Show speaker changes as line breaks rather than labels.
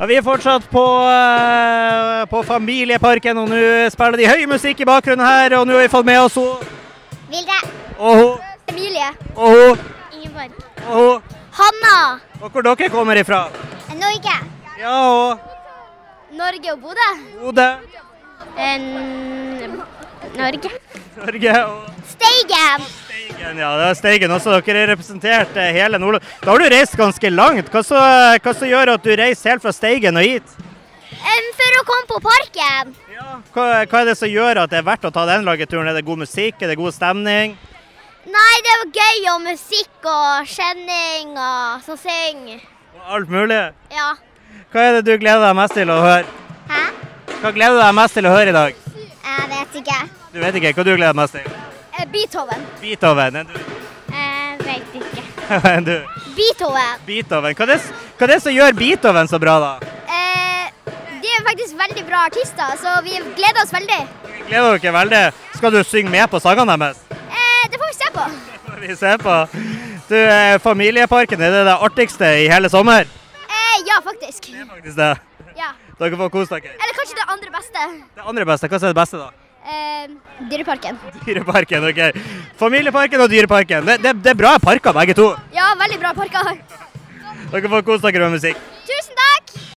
Ja, vi er fortsatt på, eh, på Familieparken, og nå spiller de høy musikk i bakgrunnen her. Og nå har vi fått med oss ho-
Vilde.
og ho,
Emilie.
og ho,
Ingeborg.
og ho.
Hanna.
Og hvor dere kommer ifra.
Norge.
Ja, og
Norge og Bodø.
Bodø,
Norge.
Norge og
Steigen.
Steigen, ja. Det er Steigen også. Dere er representert eh, hele Nordland. Da har du reist ganske langt. Hva så, hva så gjør at du reiser helt fra Steigen og hit?
Em, for å komme på parken.
Ja. Hva, hva er det som gjør at det er verdt å ta den lageturen? Er det god musikk? Er det god stemning?
Nei, det var gøy og musikk og skjenning og sånn syng.
Og alt mulig?
Ja.
Hva er det du gleder deg mest til å høre?
Hæ?
Hva gleder du deg mest til å høre i dag?
Jeg vet ikke.
Du vet ikke hva du gleder deg mest til?
Eh, Beethoven.
Beethoven. Enn du?
Jeg vet ikke.
Enn du?
Beethoven.
Beethoven. Hva er, det, s- hva er det som gjør Beethoven så bra, da?
Eh, de er faktisk veldig bra artister, så vi gleder oss veldig.
Gleder dere veldig? Skal du synge med på sangene deres?
Eh, det får vi se på.
Det får vi se på. Du, eh, Familieparken er det det artigste i hele sommer?
Eh, ja, faktisk.
Det er faktisk det.
Ja.
Dere får kose dere.
Eller kanskje det andre beste.
Det andre beste, hva er det beste, da?
Eh, Dyreparken.
Dyreparken, OK. Familieparken og Dyreparken. Det, det, det er bra parker, begge to.
Ja, veldig bra parker.
Dere får kose dere med musikk.